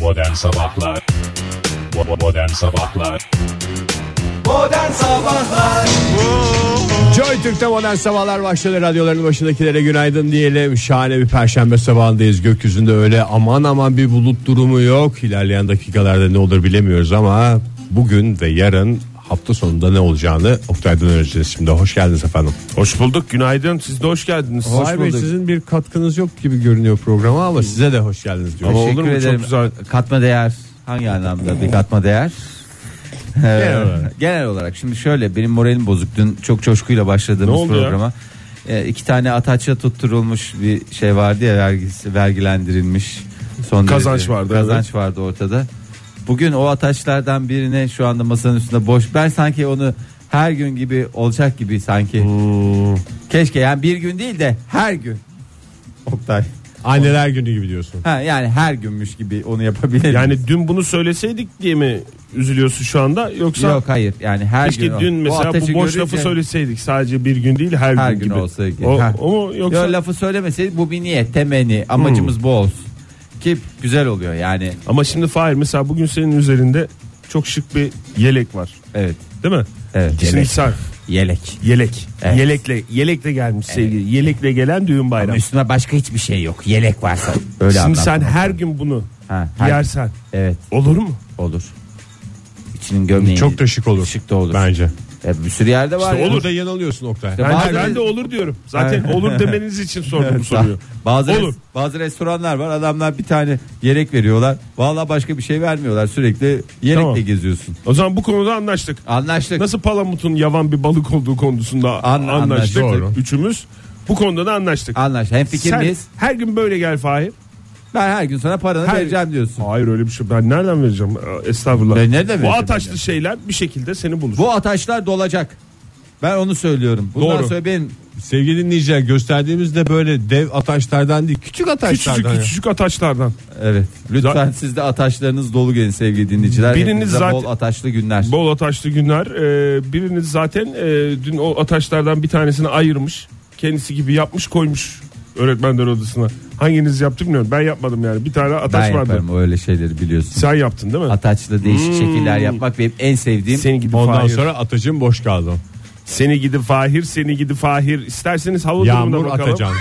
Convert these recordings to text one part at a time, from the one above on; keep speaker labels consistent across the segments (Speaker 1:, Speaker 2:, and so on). Speaker 1: Modern Sabahlar Bo- Modern Sabahlar
Speaker 2: Modern Sabahlar
Speaker 3: Joy Türk'te modern sabahlar başladı Radyoların başındakilere günaydın diyelim Şahane bir perşembe sabahındayız Gökyüzünde öyle aman aman bir bulut durumu yok İlerleyen dakikalarda ne olur bilemiyoruz ama Bugün ve yarın hafta sonunda ne olacağını Oktay'dan öğreneceğiz şimdi Hoş geldiniz efendim
Speaker 4: Hoş bulduk günaydın siz de hoş geldiniz.
Speaker 3: Vay be, sizin bir katkınız yok gibi görünüyor programa ama size de hoş geldiniz diyorum.
Speaker 4: Ama
Speaker 3: Şey,
Speaker 4: olur mu
Speaker 5: ederim.
Speaker 4: çok güzel.
Speaker 5: Katma değer hangi anlamda bir katma değer? Genel olarak. Genel olarak şimdi şöyle benim moralim bozuk dün çok coşkuyla
Speaker 4: Ne
Speaker 5: başladığımız
Speaker 4: oldu ya?
Speaker 5: programa. E, iki tane ataçla tutturulmuş bir şey vardı ya vergisi, vergilendirilmiş. Son
Speaker 4: Kazanç
Speaker 5: derece-
Speaker 4: vardı,
Speaker 5: Kazanç vardı ortada. Bugün o ataçlardan birine şu anda masanın üstünde boş. Ben sanki onu her gün gibi olacak gibi sanki.
Speaker 4: Hmm.
Speaker 5: Keşke yani bir gün değil de her gün. Oktay.
Speaker 3: Anneler günü gibi diyorsun.
Speaker 5: Ha, yani her günmüş gibi onu yapabilirim.
Speaker 4: Yani E, dün bunu söyleseydik diye mi üzülüyorsun şu anda yoksa
Speaker 5: Yok hayır yani her
Speaker 4: keşke
Speaker 5: gün.
Speaker 4: dün mesela bu,
Speaker 5: ateşi
Speaker 4: boş
Speaker 5: görünce-
Speaker 4: lafı söyleseydik sadece bir gün değil her,
Speaker 5: Her
Speaker 4: gün,
Speaker 5: gün
Speaker 4: gibi.
Speaker 5: olsa iyi.
Speaker 4: O,
Speaker 5: Ha.
Speaker 4: o mu yoksa Hmm.
Speaker 5: Yok, lafı söylemeseydik bu bir niyet temenni amacımız bu olsun. Ki güzel oluyor yani
Speaker 4: ama şimdi Fahir mesela bugün senin üzerinde çok şık bir yelek var
Speaker 5: evet.
Speaker 4: değil mi?
Speaker 5: Evet,
Speaker 4: Şimdi
Speaker 5: yelek.
Speaker 4: sen
Speaker 5: Yelek.
Speaker 4: yelek
Speaker 5: Evet.
Speaker 4: yelekle yelekle gelmiş sevgili yelekle gelen düğün bayramı.
Speaker 5: Üstüne başka hiçbir şey yok. Yelek varsa. Öyle
Speaker 4: Şimdi
Speaker 5: anlatmak.
Speaker 4: sen her gün bunu
Speaker 5: Ha, her-
Speaker 4: yersen
Speaker 5: Evet
Speaker 4: olur mu?
Speaker 5: olur. İçinin gömleği.
Speaker 3: Çok da şık olur.
Speaker 5: Şık da olur.
Speaker 3: Bence.
Speaker 5: E, bir sürü yerde var. ya.
Speaker 3: Olur da yanılıyorsun Oktay.
Speaker 4: Ben,
Speaker 5: Bazı-
Speaker 4: ben de olur diyorum. Zaten olur demeniz için sordum bu soruyu.
Speaker 5: Bazı
Speaker 4: Olur.
Speaker 5: bazı restoranlar var. Adamlar bir tane yelek veriyorlar. Vallahi başka bir şey vermiyorlar. Sürekli yelekle
Speaker 4: Tamam.
Speaker 5: geziyorsun.
Speaker 4: O zaman bu konuda anlaştık.
Speaker 5: Anlaştık.
Speaker 4: Nasıl palamutun yavan bir balık olduğu konusunda
Speaker 5: An-
Speaker 4: anlaştık.
Speaker 5: anlaştık. Doğru.
Speaker 4: Üçümüz bu konuda da anlaştık.
Speaker 5: Anlaştık. Hem
Speaker 4: Sen
Speaker 5: miyiz?
Speaker 4: her gün böyle gel Fahir.
Speaker 5: Ben her gün sana paranı
Speaker 4: Her-
Speaker 5: vereceğim diyorsun.
Speaker 4: Hayır öyle bir şey. Ben nereden vereceğim? Ee, Estağfurullah.
Speaker 5: Ben nereden
Speaker 4: bu
Speaker 5: vereceğim
Speaker 4: ataşlı
Speaker 5: ben ya?
Speaker 4: şeyler bir şekilde seni bulur.
Speaker 5: Bu ataşlar dolacak. Ben onu söylüyorum. Bundan
Speaker 4: Doğru.
Speaker 5: sonra benim
Speaker 3: Sevgili dinleyiciler gösterdiğimizde böyle dev ataşlardan değil küçük ataşlardan.
Speaker 4: küçücük
Speaker 3: ya.
Speaker 4: küçücük ataşlardan.
Speaker 5: evet. Lütfen siz de ataşlarınız dolu gelin sevgili dinleyiciler.
Speaker 4: Biriniz
Speaker 5: Hepinize
Speaker 4: zaten-
Speaker 5: bol ataşlı günler.
Speaker 4: Bol ataşlı günler. Ee, biriniz zaten e, dün o ataşlardan bir tanesini ayırmış. Kendisi gibi yapmış koymuş öğretmenler odasına. Hanginiz yaptı bilmiyorum. Ben yapmadım yani. Bir tane
Speaker 5: ben
Speaker 4: ataş vardı.
Speaker 5: yaparım öyle şeyleri biliyorsun.
Speaker 4: Sen yaptın değil mi?
Speaker 5: Ataçlı değişik
Speaker 4: Hmm.
Speaker 5: şekiller yapmak benim en sevdiğim.
Speaker 4: Seni gidi
Speaker 3: Ondan
Speaker 4: Fahir.
Speaker 3: sonra atacım boş kaldı.
Speaker 4: Seni gidi Fahir, seni gidi Fahir. İsterseniz hava
Speaker 3: Yağmur
Speaker 4: durumuna bakalım.
Speaker 3: Atacan.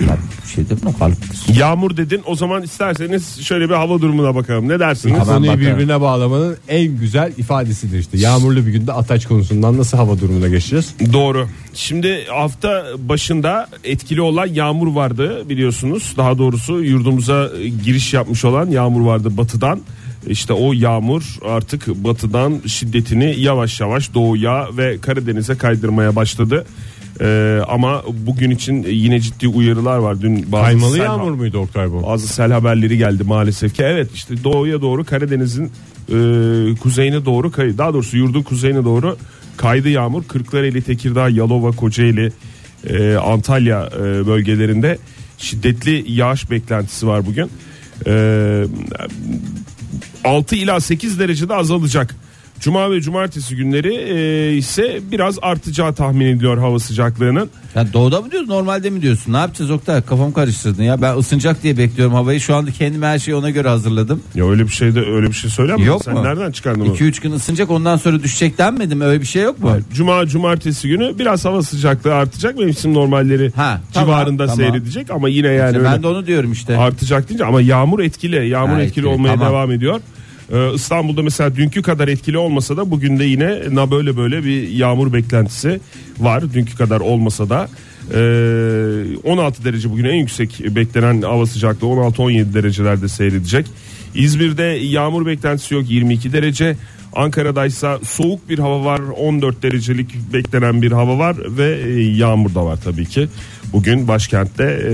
Speaker 5: Ben bir şey dedim o kalıptır.
Speaker 4: Yağmur dedin. O zaman isterseniz şöyle bir hava durumuna bakalım. Ne dersiniz?
Speaker 5: Hemen
Speaker 3: Konuyu
Speaker 5: bakarım.
Speaker 3: birbirine bağlamanın en güzel ifadesidir işte. Yağmurlu bir günde ataç konusundan nasıl hava durumuna geçeceğiz?
Speaker 4: Doğru. Şimdi hafta başında etkili olan yağmur vardı biliyorsunuz. Daha doğrusu yurdumuza e, giriş yapmış olan yağmur vardı batıdan. İşte o yağmur artık batıdan şiddetini yavaş yavaş doğuya ve Karadeniz'e kaydırmaya başladı. E, ama bugün için yine ciddi uyarılar var. Dün bazı
Speaker 3: Kaymalı
Speaker 4: sel-
Speaker 3: yağmur muydu Oktay bu?
Speaker 4: bazı sel haberleri geldi maalesef ki evet işte doğuya doğru Karadeniz'in e, kuzeyine doğru kay daha doğrusu yurdun kuzeyine doğru kaydı yağmur Kırklareli, Tekirdağ, Yalova, Kocaeli, e, Antalya e, bölgelerinde şiddetli yağış beklentisi var bugün. E, 6 ila 8 derecede azalacak. Cuma ve cumartesi günleri e, ise biraz artacağı tahmin ediliyor hava sıcaklığının.
Speaker 5: Ya doğuda mı diyorsun normalde mi diyorsun? Ne yapacağız Oktay? Kafam karıştırdın ya. Ben ısınacak diye bekliyorum havayı. Şu anda kendime her şeyi ona göre hazırladım.
Speaker 4: Ya öyle bir şey de öyle bir şey söyleme.
Speaker 5: Yok
Speaker 4: Sen
Speaker 5: mu?
Speaker 4: nereden çıkardın onu?
Speaker 5: 2-3 gün ısınacak ondan sonra düşecek denmedim. Öyle bir şey yok mu?
Speaker 4: Cuma cumartesi günü biraz hava sıcaklığı artacak mevsim normalleri
Speaker 5: Ha, tamam,
Speaker 4: civarında
Speaker 5: tamam.
Speaker 4: seyredecek ama yine yani
Speaker 5: İşte
Speaker 4: öyle
Speaker 5: ben de onu diyorum işte.
Speaker 4: artacak deyince ama yağmur etkili yağmur
Speaker 5: Ha,
Speaker 4: etkili,
Speaker 5: etkili,
Speaker 4: olmaya
Speaker 5: tamam.
Speaker 4: devam ediyor. Ee, İstanbul'da mesela dünkü kadar etkili olmasa da bugün de yine na böyle böyle bir yağmur beklentisi var dünkü kadar olmasa da. Ee, 16 derece bugün en yüksek beklenen hava sıcaklığı 16-17 derecelerde seyredecek. İzmir'de yağmur beklentisi yok 22 derece. Ankara'daysa soğuk bir hava var 14 derecelik beklenen bir hava var ve e, yağmur da var tabii ki. Bugün başkentte e,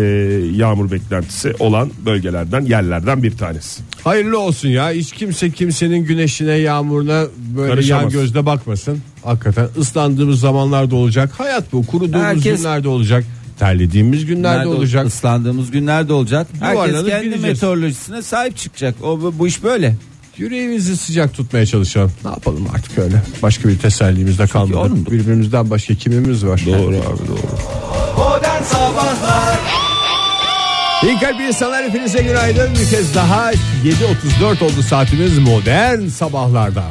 Speaker 4: yağmur beklentisi olan bölgelerden yerlerden bir tanesi.
Speaker 3: Hayırlı olsun ya. Hiç kimse kimsenin güneşine, yağmuruna böyle
Speaker 4: Karışamaz.
Speaker 3: yan gözle bakmasın. Hakikaten ıslandığımız zamanlarda olacak. Hayat bu. Kuruduğumuz
Speaker 5: Herkes-
Speaker 3: günlerde olacak. Terlediğimiz günlerde
Speaker 5: Nerede
Speaker 3: olacak.
Speaker 5: Islandığımız günlerde olacak. Herkes
Speaker 3: Yuvarlanıp
Speaker 5: kendi
Speaker 3: gideceğiz.
Speaker 5: meteorolojisine sahip çıkacak. O bu- bu iş böyle.
Speaker 3: Yüreğimizi sıcak tutmaya çalışalım. Ne yapalım artık öyle. Başka bir tesellimiz de kalmadı.
Speaker 5: yorulduk.
Speaker 3: Birbirimizden başka kimimiz var? Doğru abi doğru.
Speaker 2: Modern Sabahlar
Speaker 3: İyi kalp insanlar hepinize günaydın. Bir kez daha 7.34 oldu saatimiz modern sabahlarda.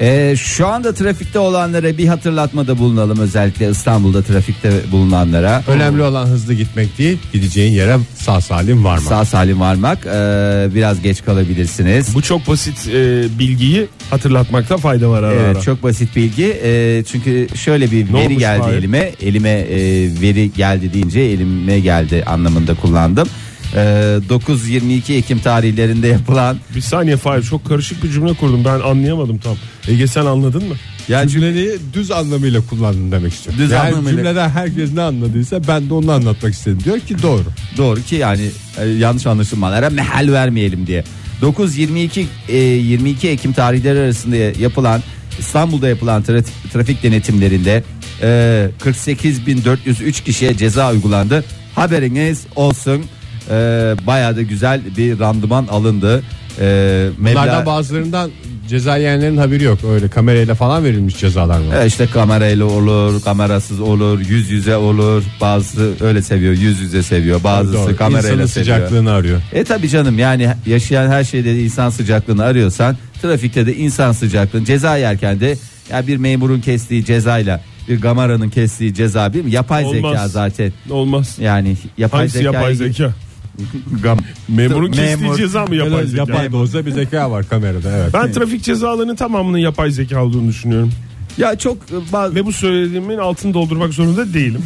Speaker 5: Ee, şu anda trafikte olanlara bir hatırlatmada bulunalım özellikle İstanbul'da trafikte bulunanlara.
Speaker 3: Önemli olan hızlı gitmek değil gideceğin yere sağ salim varmak.
Speaker 5: Sağ salim varmak ee, biraz geç kalabilirsiniz.
Speaker 4: Bu çok basit e, bilgiyi hatırlatmakta fayda var ara
Speaker 5: Evet
Speaker 4: ara.
Speaker 5: çok basit bilgi Ee, çünkü şöyle bir
Speaker 4: Ne
Speaker 5: veri
Speaker 4: olmuş
Speaker 5: geldi
Speaker 4: bari?
Speaker 5: elime elime e, veri geldi deyince elime geldi anlamında kullandım. Ee, 9-22 Ekim tarihlerinde yapılan
Speaker 4: Bir saniye Fahir çok karışık bir cümle kurdum ben anlayamadım tam. Ege sen anladın mı?
Speaker 3: Yani cümleyi düz anlamıyla kullandın demek istiyorum.
Speaker 5: Düz
Speaker 3: yani
Speaker 5: anlamıyla.
Speaker 3: cümleden herkes ne anladıysa ben de onu anlatmak istedim. Diyor ki doğru.
Speaker 5: Doğru ki yani e, yanlış anlaşılmalara mehal vermeyelim diye. 9-22 e, 22 Ekim tarihleri arasında yapılan İstanbul'da yapılan tra- trafik denetimlerinde e, 48.403 kişiye ceza uygulandı. Haberiniz olsun. E, bayağı da güzel bir randıman alındı. E,
Speaker 3: Bunlardan
Speaker 5: meblağ-
Speaker 3: bazılarından ceza yiyenlerin haberi yok. Öyle kamerayla falan verilmiş cezalar var.
Speaker 5: E, işte kamerayla olur, kamerasız olur, yüz yüze olur. Bazısı öyle seviyor, yüz yüze seviyor. Bazısı
Speaker 3: Doğru.
Speaker 5: kamerayla
Speaker 3: İnsanın
Speaker 5: seviyor.
Speaker 3: sıcaklığını arıyor.
Speaker 5: E tabi canım yani yaşayan her şeyde de insan sıcaklığını arıyorsan trafikte de insan sıcaklığını ceza yerken de ya bir memurun kestiği cezayla bir gamaranın kestiği ceza bir mi? Yapay
Speaker 4: Olmaz.
Speaker 5: zeka zaten.
Speaker 4: Olmaz.
Speaker 5: Yani yapay
Speaker 4: Hangisi
Speaker 5: zeka.
Speaker 4: yapay zeka?
Speaker 5: Gam-
Speaker 4: Memurun kestiği
Speaker 5: Memur-
Speaker 4: ceza mı yapay
Speaker 3: Yapay,
Speaker 4: zeka?
Speaker 3: yapay dozda bir zeka var kamerada evet.
Speaker 4: Ben trafik cezalarının tamamının yapay zeka olduğunu düşünüyorum.
Speaker 5: Ya çok e, ba-
Speaker 4: Ve bu söylediğimin altını doldurmak zorunda değilim.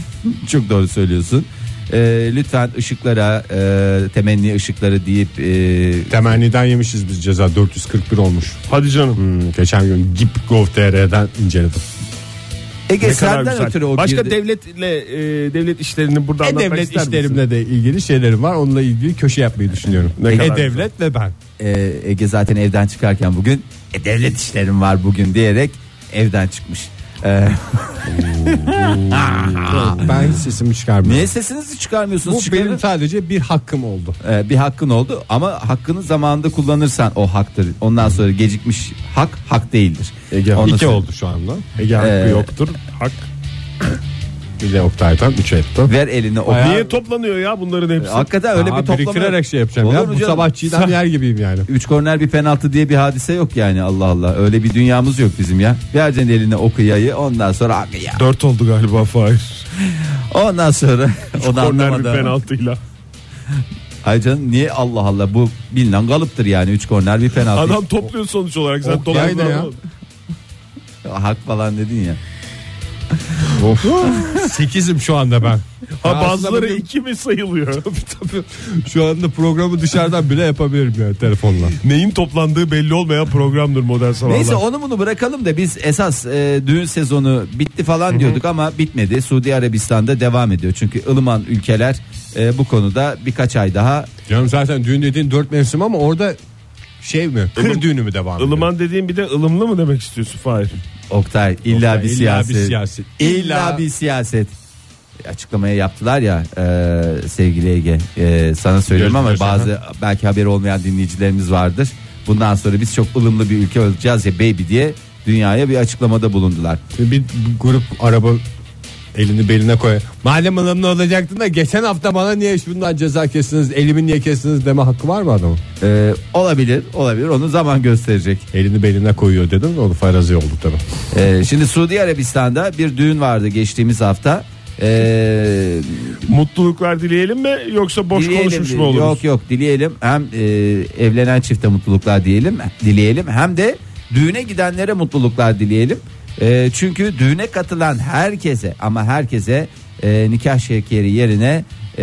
Speaker 5: çok doğru söylüyorsun. E, lütfen ışıklara e, temenni ışıkları deyip e,
Speaker 3: Temenniden yemişiz biz ceza 441 olmuş.
Speaker 4: Hadi canım.
Speaker 3: Hmm, geçen gün Gip.gov.tr'den inceledim.
Speaker 5: Ege
Speaker 4: Ne kadar
Speaker 5: E, senden
Speaker 4: güzel.
Speaker 5: ötürü o
Speaker 4: Başka
Speaker 5: girdi.
Speaker 4: devletle e, devlet işlerini burada anlatmak
Speaker 3: E-Devlet
Speaker 4: ister misin?
Speaker 3: işlerimle de ilgili şeylerim var. Onunla ilgili köşe yapmayı düşünüyorum.
Speaker 4: Ne kadar
Speaker 3: E-Devlet ve ben.
Speaker 5: e, Ege zaten evden çıkarken bugün "E, devlet işlerim var bugün diyerek evden çıkmış. E,
Speaker 3: Ben hiç sesimi çıkarmıyorum.
Speaker 5: niye sesinizi çıkarmıyorsunuz?
Speaker 3: Bu
Speaker 5: Çıkarın.
Speaker 3: benim sadece bir hakkım oldu.
Speaker 5: E, bir hakkın oldu ama hakkını zamanında kullanırsan o haktır. Ondan sonra gecikmiş hak hak değildir.
Speaker 3: Ege
Speaker 5: Ondan
Speaker 3: iki
Speaker 5: sonra-
Speaker 3: oldu şu anda.
Speaker 4: Ege hakkı
Speaker 5: Ee,
Speaker 4: yoktur. Hak.
Speaker 3: Bir de Oktay'dan 3 etti.
Speaker 5: Ver elini o.
Speaker 3: Bayağı-
Speaker 4: Niye toplanıyor ya bunların hepsi?
Speaker 5: Hakikaten öyle
Speaker 3: Aa,
Speaker 5: bir toplama.
Speaker 3: biriktirerek şey yapacağım
Speaker 5: Olur
Speaker 3: ya.
Speaker 5: mu
Speaker 3: Bu
Speaker 5: canım?
Speaker 3: sabah çiğdem yer gibiyim yani.
Speaker 5: Üç korner bir penaltı diye bir hadise yok yani Allah Allah. Öyle bir dünyamız yok bizim ya. Vereceksin eline okuyayı ondan sonra akıya.
Speaker 4: Dört oldu galiba Fahir.
Speaker 5: Ondan sonra onu
Speaker 4: Korner bir
Speaker 5: anlamadım.
Speaker 4: penaltıyla.
Speaker 5: Ay canım niye Allah Allah bu bilinen kalıptır yani 3 korner bir penaltı.
Speaker 4: Adam topluyor sonuç olarak. Sen
Speaker 3: Ok
Speaker 4: dolandın
Speaker 3: yaydı ya.
Speaker 4: ama.
Speaker 5: Hak falan dedin ya.
Speaker 3: 8'im şu anda ben.
Speaker 4: Ha, bazıları
Speaker 3: aslında
Speaker 4: iki mi sayılıyor?
Speaker 3: Şu anda programı dışarıdan bile yapabilirim yani telefonla.
Speaker 4: Neyin toplandığı belli olmayan programdır modern sabahlar.
Speaker 5: Neyse onu bunu bırakalım da biz esas e, düğün sezonu bitti falan diyorduk ama bitmedi. Suudi Arabistan'da devam ediyor. Çünkü ılıman ülkeler e, bu konuda birkaç ay daha
Speaker 3: Canım zaten düğün dediğin 4 mevsim ama orada şey mi? Kır
Speaker 4: Ilım-
Speaker 3: düğünü mü devam ediyor?
Speaker 4: Ilıman dediğin bir de ılımlı mı demek istiyorsun Fahir?
Speaker 5: Oktay illa
Speaker 3: Oktay,
Speaker 5: bir
Speaker 3: illa
Speaker 5: siyaset.
Speaker 3: bir siyaset.
Speaker 5: İlla bir siyaset. Açıklamayı yaptılar ya e, sevgili Ege e, sana söylüyorum ama
Speaker 3: Görüşürüz,
Speaker 5: bazı belki haberi olmayan dinleyicilerimiz vardır. Bundan sonra biz çok ılımlı bir ülke olacağız ya baby diye dünyaya bir açıklamada bulundular.
Speaker 3: Bir grup araba elini beline koy. Madem ılımlı olacaktın da geçen hafta bana niye bundan ceza kestiniz, elimi niye kestiniz deme hakkı var mı adamın?
Speaker 5: E, olabilir olabilir onu zaman gösterecek.
Speaker 3: Elini beline koyuyor dedim onu farazi oldu tabii.
Speaker 5: E, şimdi Suudi Arabistan'da bir düğün vardı geçtiğimiz hafta. E,
Speaker 4: Mutluluklar dileyelim mi yoksa boş
Speaker 5: Dileyelim
Speaker 4: konuşmuş
Speaker 5: di-
Speaker 4: mu oluruz?
Speaker 5: Yok yok dileyelim hem e, evlenen çifte mutluluklar diyelim dileyelim hem de düğüne gidenlere mutluluklar dileyelim. E, çünkü düğüne katılan herkese ama herkese e, nikah şekeri yerine e,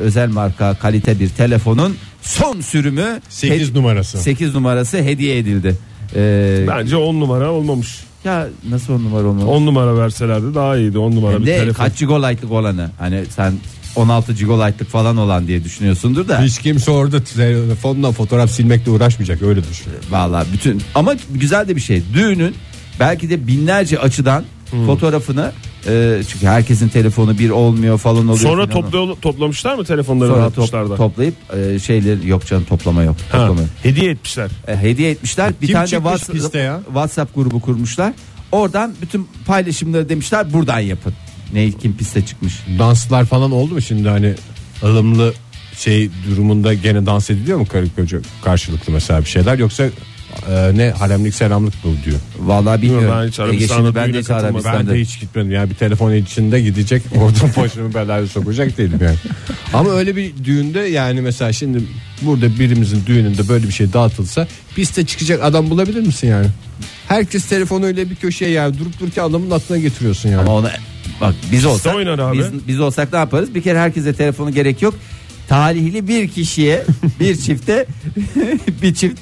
Speaker 5: özel marka kalite bir telefonun son sürümü
Speaker 3: Sekiz numarası.
Speaker 5: 8 numarası hediye edildi. E,
Speaker 4: Bence 10 numara olmamış.
Speaker 5: ya nasıl on numara olmalı?
Speaker 4: 10 numara verselerdi daha iyiydi 10 numara
Speaker 5: Hem
Speaker 4: bir
Speaker 5: de
Speaker 4: telefon.
Speaker 5: kaç gigolaytlık olanı hani sen 16 gigolaytlık falan olan diye düşünüyorsundur da.
Speaker 3: Hiç kimse orada telefonla fotoğraf silmekle uğraşmayacak öyle düşün.
Speaker 5: Vallahi bütün ama güzel de bir şey. Düğünün belki de binlerce açıdan fotoğrafını e, çünkü herkesin telefonu bir olmuyor falan oluyor.
Speaker 4: Sonra
Speaker 5: filan.
Speaker 4: topla, toplamışlar mı telefonları
Speaker 5: Sonra top-
Speaker 4: 60'larda?
Speaker 5: toplayıp e, şeyleri yok canım toplama yok.
Speaker 4: Ha,
Speaker 5: Toplama. yok.
Speaker 4: hediye etmişler.
Speaker 5: E, hediye etmişler. Bir
Speaker 3: Kim
Speaker 5: tane de
Speaker 3: çıkmış
Speaker 5: WhatsApp,
Speaker 3: piste ya?
Speaker 5: WhatsApp grubu kurmuşlar. Oradan bütün paylaşımları demişler buradan yapın. Ne kim piste çıkmış.
Speaker 3: Danslar falan oldu mu şimdi hani ılımlı şey durumunda gene dans ediliyor mu karı koca karşılıklı mesela bir şeyler yoksa e, ne haremlik selamlık mı diyor.
Speaker 5: Vallahi bilmiyorum.
Speaker 4: Ben hiç
Speaker 5: Ege
Speaker 4: Arabistan'da
Speaker 5: şimdi ben de
Speaker 4: düğüne
Speaker 5: hiç
Speaker 4: katılmadım.
Speaker 3: Ben
Speaker 5: Arabistan'da.
Speaker 3: de hiç gitmedim ya bir telefon içinde gidecek oradan başımı belaya sokacak değilim yani. Ama öyle bir düğünde yani mesela şimdi burada birimizin düğününde böyle bir şey dağıtılsa piste çıkacak adam bulabilir misin yani? Herkes telefonuyla bir köşeye yani durup dururken adamın aklına getiriyorsun yani.
Speaker 5: Ama ona bak biz olsak
Speaker 4: oynar abi.
Speaker 5: Biz, biz olsak ne yaparız? Bir kere herkese telefonu gerek yok. Talihli bir kişiye, bir çifte, bir çift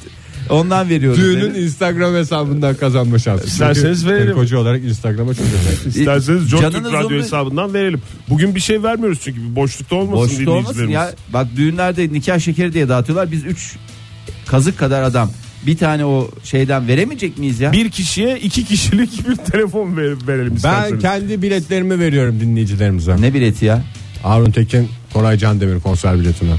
Speaker 5: ondan veriyoruz.
Speaker 3: Düğünün
Speaker 5: dedi.
Speaker 3: Instagram hesabından kazanma şansı.
Speaker 4: İsterseniz
Speaker 3: Çünkü
Speaker 4: verelim.
Speaker 3: Koca olarak Instagram'a çözüyorum.
Speaker 4: İsterseniz John
Speaker 5: Canınız
Speaker 4: Türk Radyo
Speaker 5: olmuyor.
Speaker 4: hesabından verelim. Bugün bir şey vermiyoruz çünkü bir boşlukta olmasın
Speaker 5: Boşlukta olmasın
Speaker 4: dinleyicilerimiz.
Speaker 5: ya. Bak düğünlerde nikah şekeri diye dağıtıyorlar. Biz 3 kazık kadar adam bir tane o şeyden veremeyecek miyiz ya?
Speaker 4: Bir kişiye iki kişilik bir telefon ver- verelim
Speaker 3: Ben
Speaker 4: isterseniz.
Speaker 3: kendi biletlerimi veriyorum dinleyicilerimize.
Speaker 5: Ne bileti ya?
Speaker 3: Arun Tekin, Koray Candemir konser biletimi.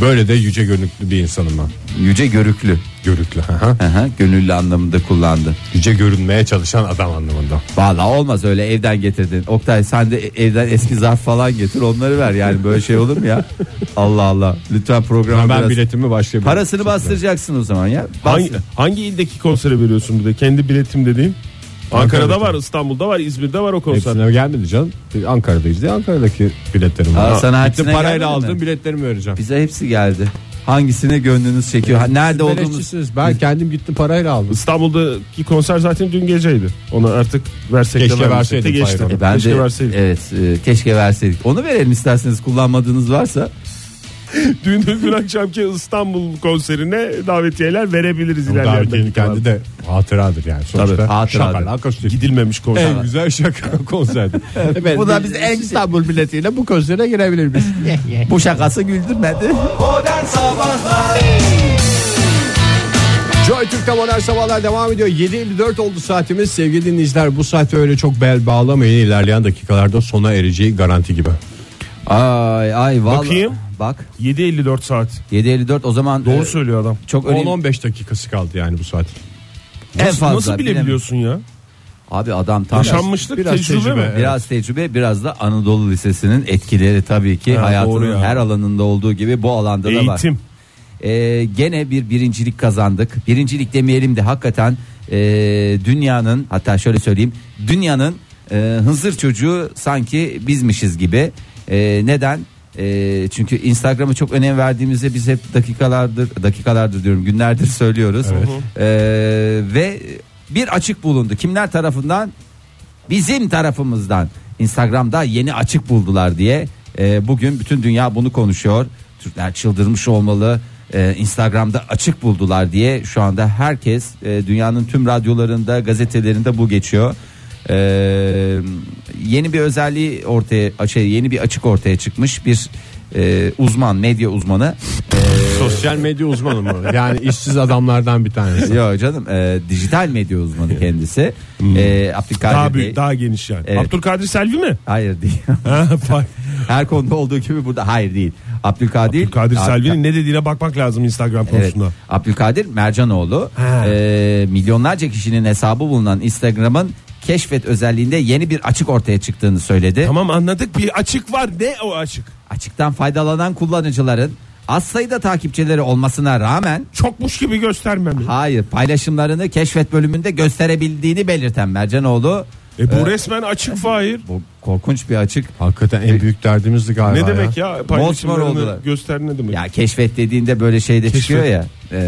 Speaker 3: Böyle de yüce gönüllü bir insanım ben.
Speaker 5: Yüce görüklü.
Speaker 3: Görüklü. hı hı.
Speaker 5: Aha, gönüllü anlamında kullandı.
Speaker 3: Yüce görünmeye çalışan adam anlamında.
Speaker 5: Valla olmaz öyle evden getirdin. Oktay sen de evden eski zarf falan getir onları ver. Yani böyle şey olur mu ya? Allah Allah. Lütfen programı
Speaker 3: ben
Speaker 5: biraz...
Speaker 3: biletimi başka bir
Speaker 5: Parasını bastıracaksın o zaman ya. Bas-
Speaker 4: Hangi, hangi ildeki konsere veriyorsun bir de? Kendi biletim dediğin. Ankara'da var, İstanbul'da var, İzmir'de var o konser.
Speaker 3: Hepsine gelmedi canım. Ankara'dayız diye Ankara'daki biletlerim var.
Speaker 5: Aa,
Speaker 3: Ha,
Speaker 5: sana
Speaker 3: gittim
Speaker 5: hepsine
Speaker 3: parayla
Speaker 5: gelmedi mi?
Speaker 3: aldığım biletlerimi vereceğim.
Speaker 5: Bize hepsi geldi. Hangisine gönlünüz çekiyor? Ha, nerede
Speaker 3: Siz
Speaker 5: olduğumuz?
Speaker 3: beleşçisiniz. Ben kendim gittim parayla aldım.
Speaker 4: İstanbul'daki konser zaten dün geceydi. Ona artık versek
Speaker 3: Keşke
Speaker 4: de vermesek de
Speaker 3: verseydim
Speaker 4: geçti.
Speaker 3: Fahir
Speaker 5: E, ben
Speaker 4: Keşke
Speaker 5: de-
Speaker 4: verseydik.
Speaker 5: Evet, e, keşke verseydik. Onu verelim isterseniz kullanmadığınız varsa.
Speaker 4: Dün, dün akşamki İstanbul konserine davetiyeler verebiliriz ilerleyen
Speaker 3: Davetinin
Speaker 4: kendi
Speaker 3: kendi de hatıradır yani. Sonuçta
Speaker 5: Tabii, hatıradır.
Speaker 3: şakayla akustik.
Speaker 4: Gidilmemiş konser.
Speaker 3: En güzel şaka konserdi.
Speaker 5: Bu da biz en
Speaker 3: İstanbul biletiyle bu konsere girebilir
Speaker 5: Bu şakası güldürmedi.
Speaker 2: Modern Sabahlar
Speaker 3: Joy Türk'te modern sabahlar devam ediyor. 7.54 oldu saatimiz. Sevgili dinleyiciler bu saate öyle çok bel bağlamayın. İlerleyen dakikalarda sona ereceği garanti gibi.
Speaker 5: Ay ay vallahi.
Speaker 4: Bakayım.
Speaker 5: Bak
Speaker 4: 7.54 saat.
Speaker 5: 7.54 o zaman
Speaker 4: Doğru
Speaker 5: e,
Speaker 4: söylüyor adam.
Speaker 5: çok önemli.
Speaker 3: 10-15 dakikası kaldı yani bu saat.
Speaker 5: En
Speaker 4: Nasıl,
Speaker 5: fazla,
Speaker 4: nasıl bilebiliyorsun ya?
Speaker 5: Abi adam tam
Speaker 4: Yaşanmışlık
Speaker 3: biraz
Speaker 4: tecrübe,
Speaker 3: tecrübe.
Speaker 4: mi?
Speaker 5: Biraz tecrübe biraz da Anadolu Lisesi'nin etkileri tabii ki
Speaker 4: Ha, doğru
Speaker 5: hayatının
Speaker 4: ya.
Speaker 5: her alanında olduğu gibi bu alanda da var.
Speaker 4: Eğitim.
Speaker 5: Ee, gene bir birincilik kazandık. Birincilik demeyelim de hakikaten e, dünyanın hatta şöyle söyleyeyim dünyanın e, hınzır çocuğu sanki bizmişiz gibi. E, neden? E, çünkü Instagram'a çok önem verdiğimizde biz hep dakikalardır dakikalardır diyorum günlerdir söylüyoruz. E, ve bir açık bulundu. Kimler tarafından? bizim tarafımızdan Instagram'da yeni açık buldular diye e, bugün bütün dünya bunu konuşuyor. Türkler çıldırmış olmalı. E, Instagram'da açık buldular diye şu anda herkes e, dünyanın tüm radyolarında, gazetelerinde bu geçiyor. E, yeni bir özelliği ortaya şey yeni bir açık ortaya çıkmış bir e, uzman medya uzmanı
Speaker 3: Sosyal medya uzmanı mı? Yani işsiz adamlardan bir tanesi.
Speaker 5: yok canım e, dijital medya uzmanı kendisi e, Abdülkadir
Speaker 4: Hmm. Daha
Speaker 5: Bey.
Speaker 4: büyük, daha geniş yani.
Speaker 5: Evet.
Speaker 4: Abdülkadir Selvi mi?
Speaker 5: Hayır değil.
Speaker 4: Ha, bak.
Speaker 5: Her konuda olduğu gibi burada hayır değil. Abdülkadir
Speaker 4: Abdülkadir
Speaker 5: Abdülka-
Speaker 4: Selvi'nin ne dediğine bakmak lazım Instagram
Speaker 5: Evet.
Speaker 4: konusunda.
Speaker 5: Abdülkadir Mercanoğlu e, milyonlarca kişinin hesabı bulunan Instagram'ın keşfet özelliğinde yeni bir açık ortaya çıktığını söyledi.
Speaker 4: Tamam anladık bir açık var. Ne o açık?
Speaker 5: Açıktan faydalanan kullanıcıların az sayıda takipçileri olmasına rağmen
Speaker 4: Çokmuş gibi göstermemi.
Speaker 5: hayır paylaşımlarını keşfet bölümünde gösterebildiğini belirten Mercanoğlu
Speaker 4: E bu resmen açık fahir.
Speaker 5: bu korkunç bir açık.
Speaker 3: Hakikaten en büyük derdimizdi galiba
Speaker 4: Ne demek ya?
Speaker 5: oldular.
Speaker 4: Paylaşımlarını göster ne demek?
Speaker 5: Ya keşfet dediğinde böyle şeyde
Speaker 4: Keşfet.
Speaker 5: çıkıyor ya. E,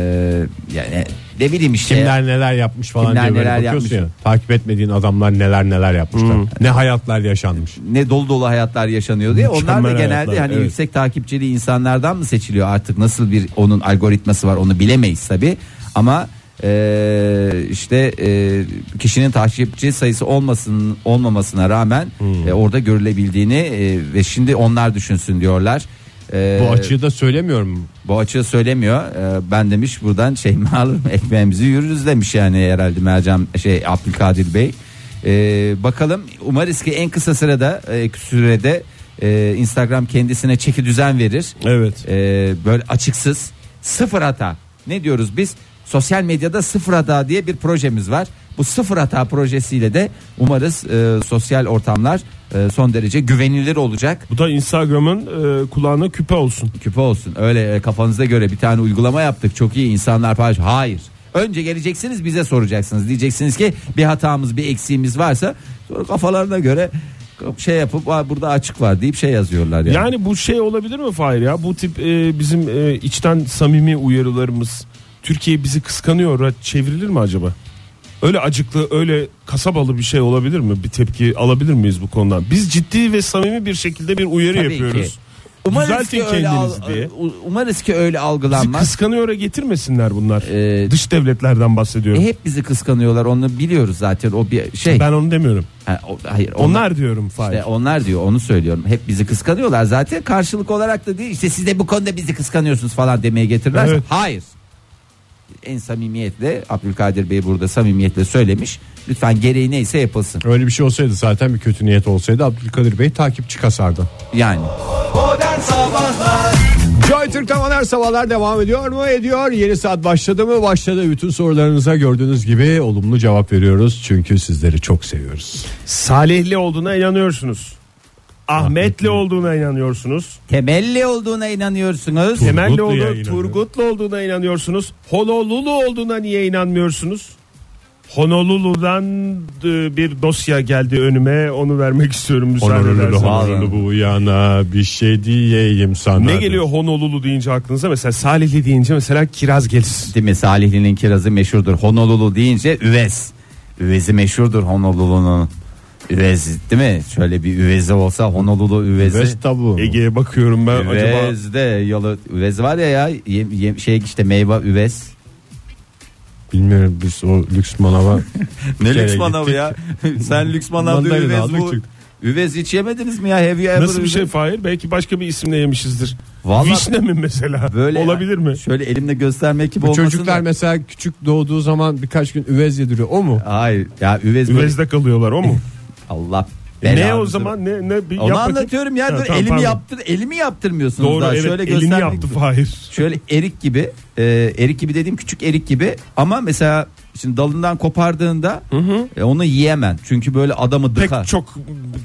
Speaker 5: yani ne bileyim işte.
Speaker 3: Kimler neler yapmış falan
Speaker 5: Kimler
Speaker 3: diye böyle
Speaker 5: neler
Speaker 3: bakıyorsun
Speaker 5: yapmış.
Speaker 3: ya. Takip etmediğin adamlar neler neler yapmışlar.
Speaker 4: Hmm.
Speaker 3: Ne hayatlar yaşanmış.
Speaker 5: ne dolu dolu hayatlar yaşanıyor diye. Onlar da
Speaker 4: Mükemmel
Speaker 5: genelde
Speaker 4: hayatlar,
Speaker 5: hani
Speaker 4: evet.
Speaker 5: yüksek takipçili insanlardan mı seçiliyor artık nasıl bir onun algoritması var onu bilemeyiz tabi. Ama eee, işte eee, kişinin takipçi sayısı olmasın olmamasına rağmen
Speaker 4: Hmm.
Speaker 5: e, orada görülebildiğini e, ve şimdi onlar düşünsün diyorlar. E, Eee,
Speaker 4: Ee,
Speaker 3: Bu açığı da söylemiyorum.
Speaker 5: bu açığı söylemiyor. Ee, ben demiş buradan şey mi alırım ekmeğimizi yürürüz demiş yani herhalde Mercan şey Abdülkadir Bey. Ee, bakalım umarız ki en kısa sırada e, sürede e, Instagram kendisine çeki düzen verir.
Speaker 4: Evet.
Speaker 5: Ee, böyle açıksız sıfır hata. Ne diyoruz biz? Sosyal medyada sıfır hata diye bir projemiz var. Bu sıfır hata projesiyle de umarız e, sosyal ortamlar e, son derece güvenilir olacak.
Speaker 4: Bu da Instagram'ın e, kulağına küpe olsun.
Speaker 5: Küpe olsun. Öyle e, kafanıza göre bir tane uygulama yaptık. Çok iyi insanlar paylaş. Hayır. Önce geleceksiniz bize soracaksınız. Diyeceksiniz ki bir hatamız bir eksiğimiz varsa sonra kafalarına göre şey yapıp "Aa, burada açık var deyip şey yazıyorlar yani.
Speaker 4: Yani bu şey olabilir mi Fahir ya? Bu tip e, bizim e, içten samimi uyarılarımız Türkiye bizi kıskanıyor çevrilir mi acaba? Öyle acıklı öyle kasabalı bir şey olabilir mi? Bir tepki alabilir miyiz bu konudan? Biz ciddi ve samimi bir şekilde bir uyarı
Speaker 5: Tabii
Speaker 4: yapıyoruz.
Speaker 5: ki. Umarız
Speaker 4: Düzeltin
Speaker 5: ki öyle al-
Speaker 4: kendinizi diye.
Speaker 5: Umarız ki öyle
Speaker 4: Bizi
Speaker 5: algılanmaz.
Speaker 4: kıskanıyor'a getirmesinler bunlar.
Speaker 5: Ee,
Speaker 4: Dış devletlerden bahsediyorum.
Speaker 5: E, hep bizi kıskanıyorlar onu biliyoruz zaten o bir şey.
Speaker 4: Ben onu demiyorum.
Speaker 5: Ha, o- hayır
Speaker 4: Onlar, diyorum Fahir.
Speaker 5: İşte onlar diyor onu söylüyorum. Hep bizi kıskanıyorlar zaten karşılık olarak da değil. İşte siz de bu konuda bizi kıskanıyorsunuz falan demeye getirirlerse
Speaker 4: Evet.
Speaker 5: hayır. En samimiyetle Abdülkadir Bey burada samimiyetle söylemiş. Lütfen gereği neyse yapılsın.
Speaker 3: Öyle bir şey olsaydı zaten bir kötü niyet olsaydı Abdülkadir Bey takipçi kasardı.
Speaker 5: Yani
Speaker 2: Modern Sabahlar
Speaker 3: Joy Türk'ten Modern Sabahlar devam ediyor mu? Ediyor. Yeni saat başladı mı? Başladı. Bütün sorularınıza gördüğünüz gibi olumlu cevap veriyoruz. Çünkü sizleri çok seviyoruz.
Speaker 4: Salihli olduğuna inanıyorsunuz. Ahmetli olduğuna inanıyorsunuz.
Speaker 5: temelli olduğuna inanıyorsunuz.
Speaker 4: Temelli
Speaker 3: Turgutlu'ya
Speaker 4: olduğu,
Speaker 3: inanıyorum.
Speaker 4: Turgutlu olduğuna inanıyorsunuz. Honolulu olduğuna niye inanmıyorsunuz? Honolulu'dan e, bir dosya geldi önüme. Onu vermek istiyorum müsaadenizle.
Speaker 3: Honolulu bu yana bir şey diyeyim sana.
Speaker 4: Ne geliyor Honolulu deyince aklınıza? Mesela Salihli deyince mesela kiraz gelir.
Speaker 5: Değil mi? Salihli'nin kirazı meşhurdur. Honolulu deyince üvez. Üvezi meşhurdur Honolulu'nun. Üvez değil mi? Şöyle bir üvezi olsa Honolulu üvezi.
Speaker 3: Best tabu.
Speaker 4: Ege'ye bakıyorum ben acaba.
Speaker 5: Üvez de yalı üvez var ya ya yem- yem- şey işte meyve üvez.
Speaker 3: Bilmiyorum biz o lüks manava.
Speaker 5: Ne
Speaker 3: kere
Speaker 5: lüks manav
Speaker 3: gittik.
Speaker 5: ya? Sen lüks manavda
Speaker 3: Mandalina
Speaker 5: üvez
Speaker 3: aldık
Speaker 5: bu.
Speaker 3: çünkü.
Speaker 5: Üvez hiç yemediniz mi ya? Have you ever
Speaker 4: Nasıl bir
Speaker 5: üvez?
Speaker 4: şey Fahir? Belki başka bir isimle yemişizdir.
Speaker 5: Vallahi-
Speaker 4: Vişne mi mesela?
Speaker 5: Böyle
Speaker 4: Olabilir mi?
Speaker 5: Şöyle elimle göstermek gibi
Speaker 3: Bu
Speaker 5: olmasın
Speaker 3: çocuklar
Speaker 5: da-
Speaker 3: mesela küçük doğduğu zaman birkaç gün üvez yediriyor. O mu?
Speaker 5: Hayır ya üvez, böyle-
Speaker 4: Üvezde kalıyorlar o mu?
Speaker 5: Allah
Speaker 4: ne o
Speaker 5: belanızı-
Speaker 4: zaman ne ne bir
Speaker 5: Onu
Speaker 4: yap bakayım.
Speaker 5: anlatıyorum ya
Speaker 4: Ha,
Speaker 5: dur
Speaker 4: tamam,
Speaker 5: elimi
Speaker 4: pardon.
Speaker 5: yaptır elimi yaptırmıyorsunuz
Speaker 4: Doğru
Speaker 5: daha
Speaker 4: evet
Speaker 5: şöyle
Speaker 4: elini
Speaker 5: göstermek
Speaker 4: yaptı
Speaker 5: gibi.
Speaker 4: Fahir.
Speaker 5: Şöyle erik gibi e, erik gibi dediğim küçük erik gibi ama mesela şimdi dalından kopardığında e, onu yiyemen çünkü böyle adamı
Speaker 4: Pek
Speaker 5: dıkar.
Speaker 4: çok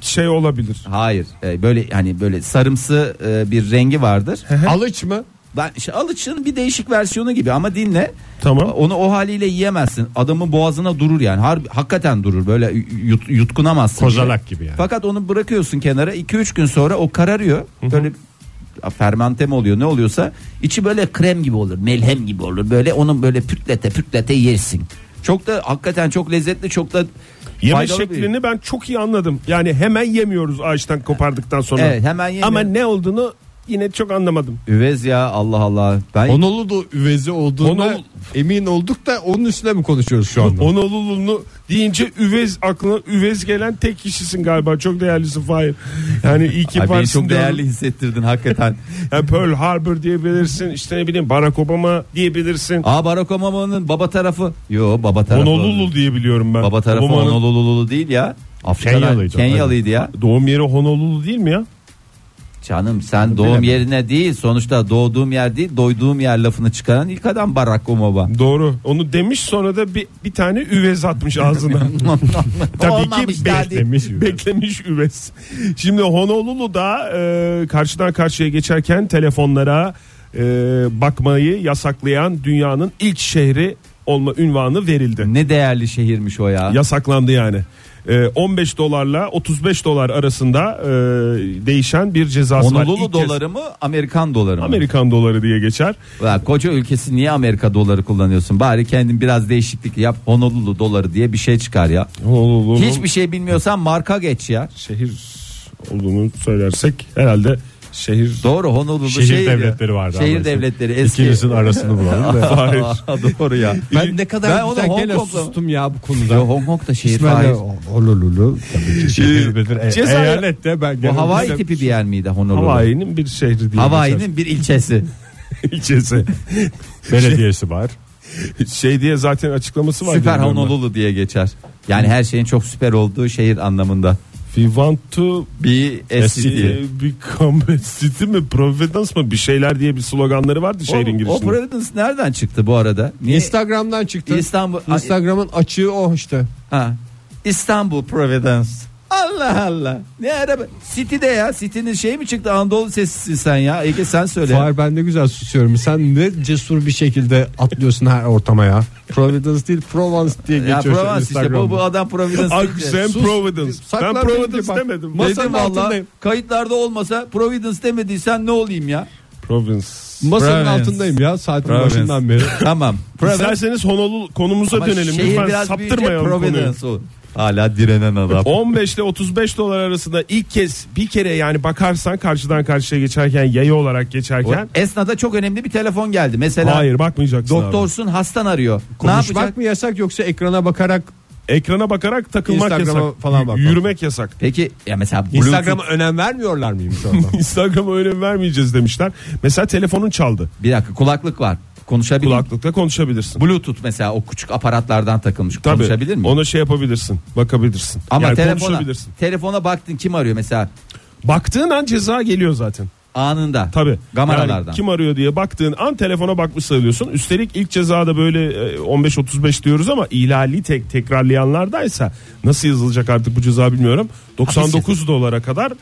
Speaker 4: şey olabilir.
Speaker 5: Hayır e, böyle hani böyle sarımsı e, bir rengi vardır.
Speaker 3: Alıç mı?
Speaker 5: Ben işte alıçın bir değişik versiyonu gibi ama dinle.
Speaker 4: Tamam.
Speaker 5: Onu o haliyle yiyemezsin. Adamın boğazına durur yani. Harbi, hakikaten durur. Böyle yut- yutkunamazsın.
Speaker 3: Kozalak gibi yani.
Speaker 5: Fakat onu bırakıyorsun kenara 2-3 gün sonra o kararıyor. Böyle fermente mi oluyor ne oluyorsa içi böyle krem gibi olur melhem gibi olur böyle onu böyle pütlete pütlete yersin çok da hakikaten çok lezzetli çok da
Speaker 4: Yeme
Speaker 5: faydalı bir-
Speaker 4: şeklini ben çok iyi anladım. Yani hemen yemiyoruz ağaçtan kopardıktan sonra.
Speaker 5: Evet, hemen yemiyoruz.
Speaker 4: Ama ne olduğunu yine çok anlamadım.
Speaker 5: üvez ya Allah Allah ben
Speaker 3: Honolulu üvezi olduğuna
Speaker 4: Honolulu-
Speaker 3: emin olduk da onun üstüne mi konuşuyoruz şu anda?
Speaker 4: Honolulu'nu deyince üvez aklına üvez gelen tek kişisin galiba. Çok değerlisin Fahir. Yani iyi ki
Speaker 5: Ay, beni
Speaker 4: varsın
Speaker 5: çok
Speaker 4: diyorum.
Speaker 5: değerli hissettirdin hakikaten
Speaker 4: Yani Pearl Harbor diyebilirsin. işte ne bileyim Barack Obama diyebilirsin.
Speaker 5: Aa Barack Obama'nın baba tarafı. Yo baba tarafı.
Speaker 4: Honolulu diyebiliyorum ben.
Speaker 5: Baba tarafı
Speaker 4: Obama'nın
Speaker 5: Honolulu değil ya. Afrika'dan
Speaker 3: Kenyalıydı.
Speaker 5: Kenyalıydı. ya.
Speaker 4: Doğum yeri Honolulu değil mi ya?
Speaker 5: Canım sen doğum yerine değil sonuçta doğduğum yer değil doyduğum yer lafını çıkaran ilk adam Barack Obama.
Speaker 4: Doğru. Onu demiş sonra da bir, bir tane üvez atmış ağzına. Tabii ki
Speaker 5: Olmamış daha değil.
Speaker 4: beklemiş, beklemiş üvez. Şimdi Honolulu'da e, karşıdan karşıya geçerken telefonlara e, bakmayı yasaklayan dünyanın ilk şehri olma ünvanı verildi.
Speaker 5: Ne değerli şehirmiş o ya.
Speaker 4: Yasaklandı yani. E, 15 dolarla 35 dolar arasında e, değişen bir cezası var.
Speaker 5: Honolulu
Speaker 4: İlk kez
Speaker 5: doları mı Amerikan doları mı?
Speaker 4: Amerikan doları diye geçer.
Speaker 5: Ya koca ülkesi niye Amerika doları kullanıyorsun? Bari kendin biraz değişiklik yap Honolulu doları diye bir şey çıkar ya.
Speaker 4: Honolulu'nun
Speaker 5: Hiçbir şey bilmiyorsan marka geç ya.
Speaker 4: şehir olduğunu söylersek herhalde şehir
Speaker 5: Doğru Honolulu
Speaker 3: Şehir
Speaker 5: şehir ya.
Speaker 3: devletleri vardı
Speaker 5: Şehir
Speaker 3: ama.
Speaker 5: devletleri eski.
Speaker 3: İkinizin arasını bulalım da.
Speaker 4: Hayır.
Speaker 5: Doğru ya.
Speaker 3: Ben ne kadar
Speaker 5: Ben
Speaker 3: güzel
Speaker 5: onu Hong
Speaker 3: gene
Speaker 5: Kong'la-
Speaker 3: sustum ya bu konuda.
Speaker 5: Yo, Hong Kong'da şehir
Speaker 3: İsmail
Speaker 5: faiz.
Speaker 3: Honolulu tabii ki şehirdir. E,
Speaker 4: Şey, Cezayir-
Speaker 3: eyalet de ben
Speaker 5: Bu
Speaker 3: gene-
Speaker 5: Hawaii tipi bir yer miydi Honolulu?
Speaker 4: Hawaii'nin bir şehri diye
Speaker 5: Hawaii'nin bir ilçesi.
Speaker 4: geçer. ilçesi.
Speaker 3: belediyesi var.
Speaker 4: şey diye zaten açıklaması var.
Speaker 5: süper
Speaker 4: bilmiyorum ben.
Speaker 5: Honolulu diye geçer. Yani her şeyin çok süper olduğu şehir anlamında.
Speaker 4: We want to
Speaker 5: Bir SCT.
Speaker 4: e, become a city mi? Providence mı? Bir şeyler diye bir sloganları vardı şehrin
Speaker 5: O, o
Speaker 4: girişinde.
Speaker 5: Providence nereden çıktı bu arada? Niye?
Speaker 3: Instagram'dan çıktı.
Speaker 5: İstanbul
Speaker 3: Instagram'ın açığı o işte.
Speaker 5: ha. İstanbul Providence. Allah Allah. Ne araba? City'de ya. City'nin şey mi çıktı? Anadolu sesisin sen ya. Ege sen söyle.
Speaker 3: Fahir ben de güzel susuyorum. Sen ne cesur bir şekilde atlıyorsun her ortama ya. Providence değil Provence diye
Speaker 5: ya
Speaker 3: geçiyor.
Speaker 5: Provence işte bu, bu adam Providence.
Speaker 4: Ay
Speaker 5: deyince.
Speaker 4: sen
Speaker 3: Sus.
Speaker 4: Providence.
Speaker 3: Saklan
Speaker 4: ben
Speaker 3: bilgi
Speaker 4: Providence
Speaker 3: bak.
Speaker 4: demedim.
Speaker 3: Ma-
Speaker 5: Dedim
Speaker 3: Masanın
Speaker 5: valla
Speaker 3: altındayım.
Speaker 5: kayıtlarda olmasa Providence demediysen ne olayım ya?
Speaker 4: Providence.
Speaker 3: Masanın
Speaker 5: Provence.
Speaker 3: altındayım ya saatin
Speaker 5: Provence.
Speaker 3: başından beri.
Speaker 5: Tamam.
Speaker 4: İsterseniz Honolulu konumuza
Speaker 5: Ama
Speaker 4: dönelim.
Speaker 5: şehir
Speaker 4: Lütfen
Speaker 5: biraz büyüyecek,
Speaker 4: saptırmayalım konuyu.
Speaker 5: Providence o. Hala direnen adam.
Speaker 4: 15 ile 35 dolar arasında ilk kez bir kere yani bakarsan karşıdan karşıya geçerken yayı olarak
Speaker 5: O
Speaker 4: geçerken
Speaker 5: esnada çok önemli bir telefon geldi. Mesela
Speaker 4: hayır bakmayacaksın abi.
Speaker 5: doktorsun hastan arıyor. ne
Speaker 3: Konuşmak
Speaker 5: yapacak?
Speaker 3: mı yasak yoksa ekrana bakarak
Speaker 4: Ekrana bakarak takılmak
Speaker 3: Instagram'a
Speaker 4: yasak.
Speaker 3: falan
Speaker 4: Y-
Speaker 3: bakmak.
Speaker 4: Yürümek yasak.
Speaker 5: Peki ya mesela Bluetooth-
Speaker 3: Instagram'a önem vermiyorlar mıymış orada?
Speaker 4: Instagram'a önem vermeyeceğiz demişler. Mesela telefonun çaldı.
Speaker 5: bir dakika kulaklık var. Konuşabilir.
Speaker 4: Kulaklıkla konuşabilirsin.
Speaker 5: Bluetooth mesela o küçük aparatlardan takılmış.
Speaker 4: Tabii.
Speaker 5: Konuşabilir mi?
Speaker 4: Ona şey yapabilirsin. Bakabilirsin.
Speaker 5: Ama
Speaker 4: yani
Speaker 5: telefona
Speaker 4: konuşabilirsin.
Speaker 5: telefona baktın kim arıyor mesela
Speaker 4: Baktığın an ceza geliyor zaten.
Speaker 5: anında.
Speaker 4: Tabii.
Speaker 5: Kameralardan.
Speaker 4: Yani kim arıyor diye baktığın an telefona bakmış sayılıyorsun. Üstelik ilk cezada böyle e, 15-35 diyoruz ama ihlali tek tekrarlayanlardaysa nasıl yazılacak artık bu ceza bilmiyorum. 99 dolara kadar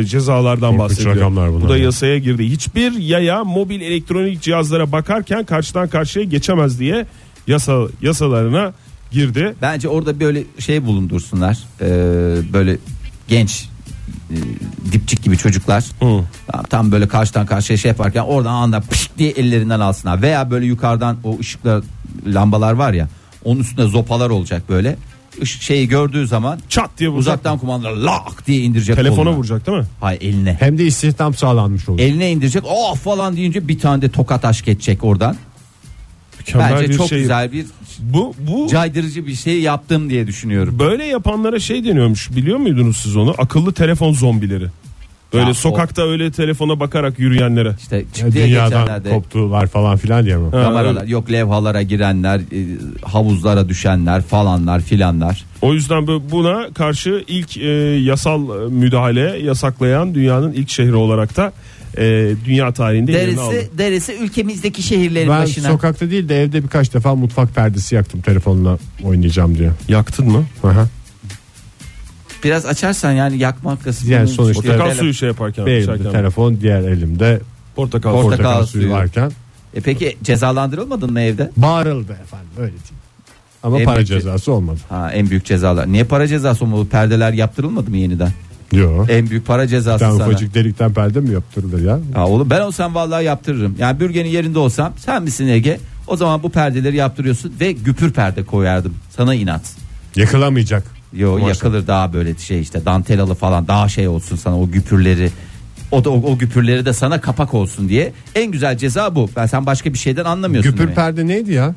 Speaker 4: e, cezalardan
Speaker 3: Korkunç rakamlar
Speaker 4: bahsediyor.
Speaker 3: bunlar
Speaker 4: Bu da
Speaker 3: ya.
Speaker 4: yasaya girdi. Hiçbir yaya mobil elektronik cihazlara bakarken karşıdan karşıya geçemez diye yasa yasalarına girdi.
Speaker 5: Bence orada böyle şey bulundursunlar. Ee, böyle genç e, dipçik gibi çocuklar.
Speaker 4: Hı.
Speaker 5: Tam, tam böyle karşıdan karşıya şey yaparken oradan anda pişt diye ellerinden alsınlar. Veya böyle yukarıdan o ışıklar lambalar var ya. Onun üstünde zopalar olacak böyle. Işık şeyi gördüğü zaman
Speaker 4: Çat diye vuracak.
Speaker 5: uzaktan kumanda lak diye indirecek.
Speaker 4: telefona
Speaker 5: koluna.
Speaker 4: vuracak değil mi?
Speaker 5: Hayır eline.
Speaker 3: Hem de istihdam sağlanmış olur.
Speaker 5: Eline indirecek. Oh falan deyince bir tane de tokat aşk edecek oradan.
Speaker 4: Mükemmel
Speaker 5: Bence
Speaker 4: bir
Speaker 5: çok
Speaker 4: şey.
Speaker 5: güzel bir
Speaker 4: Bu bu
Speaker 5: caydırıcı bir şey yaptım diye düşünüyorum.
Speaker 4: Böyle yapanlara şey deniyormuş biliyor muydunuz siz onu? Akıllı telefon zombileri. Böyle
Speaker 5: Ya,
Speaker 4: sokakta öyle telefona bakarak yürüyenlere.
Speaker 5: İşte
Speaker 3: Ya
Speaker 5: çıktı ya
Speaker 3: Dünyadan
Speaker 5: geçenlerde.
Speaker 3: koptular falan filan diye mi?
Speaker 5: Kameralar yok levhalara girenler, e, havuzlara düşenler falanlar filanlar.
Speaker 4: O yüzden bu- buna karşı ilk e, yasal e, müdahale yasaklayan dünyanın ilk şehri olarak da e, dünya tarihinde yerini aldı.
Speaker 5: Derisi derisi ülkemizdeki şehirlerin
Speaker 3: Ben
Speaker 5: başına.
Speaker 3: sokakta değil de evde birkaç defa mutfak perdesi yaktım telefonla oynayacağım diye.
Speaker 4: Yaktın mı?
Speaker 3: Aha.
Speaker 5: Biraz açarsan yani yakmak kısmını.
Speaker 3: Yani sonuçta-
Speaker 5: İşte
Speaker 4: Portakal
Speaker 5: tele-
Speaker 4: suyu şey yaparken.
Speaker 3: Bir elimde
Speaker 4: içerken.
Speaker 3: telefon diğer elimde
Speaker 4: Portakal.
Speaker 5: Portakal.
Speaker 4: portakal.
Speaker 5: suyu.
Speaker 3: suyu varken
Speaker 5: E peki cezalandırılmadın mı evde?
Speaker 3: bağırıldı efendim öyle diyeyim. Ama
Speaker 5: Emekçi.
Speaker 3: para cezası olmadı.
Speaker 5: Ha en büyük cezalar. Niye para cezası mı? Bu Perdeler yaptırılmadı mı yeniden?
Speaker 3: Yok.
Speaker 5: En büyük para cezası
Speaker 3: Sen
Speaker 5: E, sana.
Speaker 3: ufacık delikten perde mi yaptırılır ya?
Speaker 5: Ha oğlum ben olsam vallahi yaptırırım. Yani bürgenin yerinde olsam sen misin Ege? O zaman bu perdeleri yaptırıyorsun ve güpür perde koyardım. Sana inat.
Speaker 3: Yakılamayacak.
Speaker 5: Yo
Speaker 3: Kumaşla.
Speaker 5: yakılır daha böyle şey işte dantelalı falan daha şey olsun sana o güpürleri. O da o, o güpürleri de sana kapak olsun diye. En güzel ceza bu. Ben sen başka bir şeyden anlamıyorsun.
Speaker 3: Güpür
Speaker 5: demek.
Speaker 3: perde neydi ya?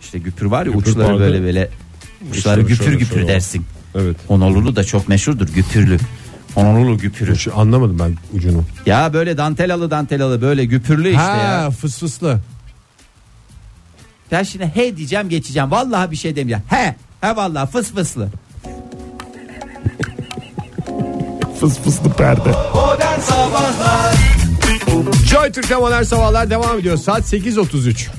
Speaker 5: İşte güpür var ya
Speaker 4: Güpür
Speaker 5: uçları
Speaker 4: perde.
Speaker 5: böyle böyle uçları
Speaker 4: Şöyle,
Speaker 5: güpür
Speaker 4: şöyle,
Speaker 5: güpür
Speaker 4: şöyle.
Speaker 5: dersin.
Speaker 4: Evet.
Speaker 5: Honolulu da çok meşhurdur güpürlü. Honolulu güpürü.
Speaker 3: Şu anlamadım ben ucunu.
Speaker 5: Ya böyle dantelalı dantelalı böyle güpürlü işte ya.
Speaker 3: ha fısfıslı.
Speaker 5: Ben şimdi he diyeceğim geçeceğim. Vallahi bir şey demeyeceğim. He. He vallahi fıs fıslı.
Speaker 4: Fıs fıslı perde.
Speaker 2: Modern Sabahlar
Speaker 3: Joy Türk'te modern sabahlar devam ediyor. Saat 8.33.
Speaker 5: Aa,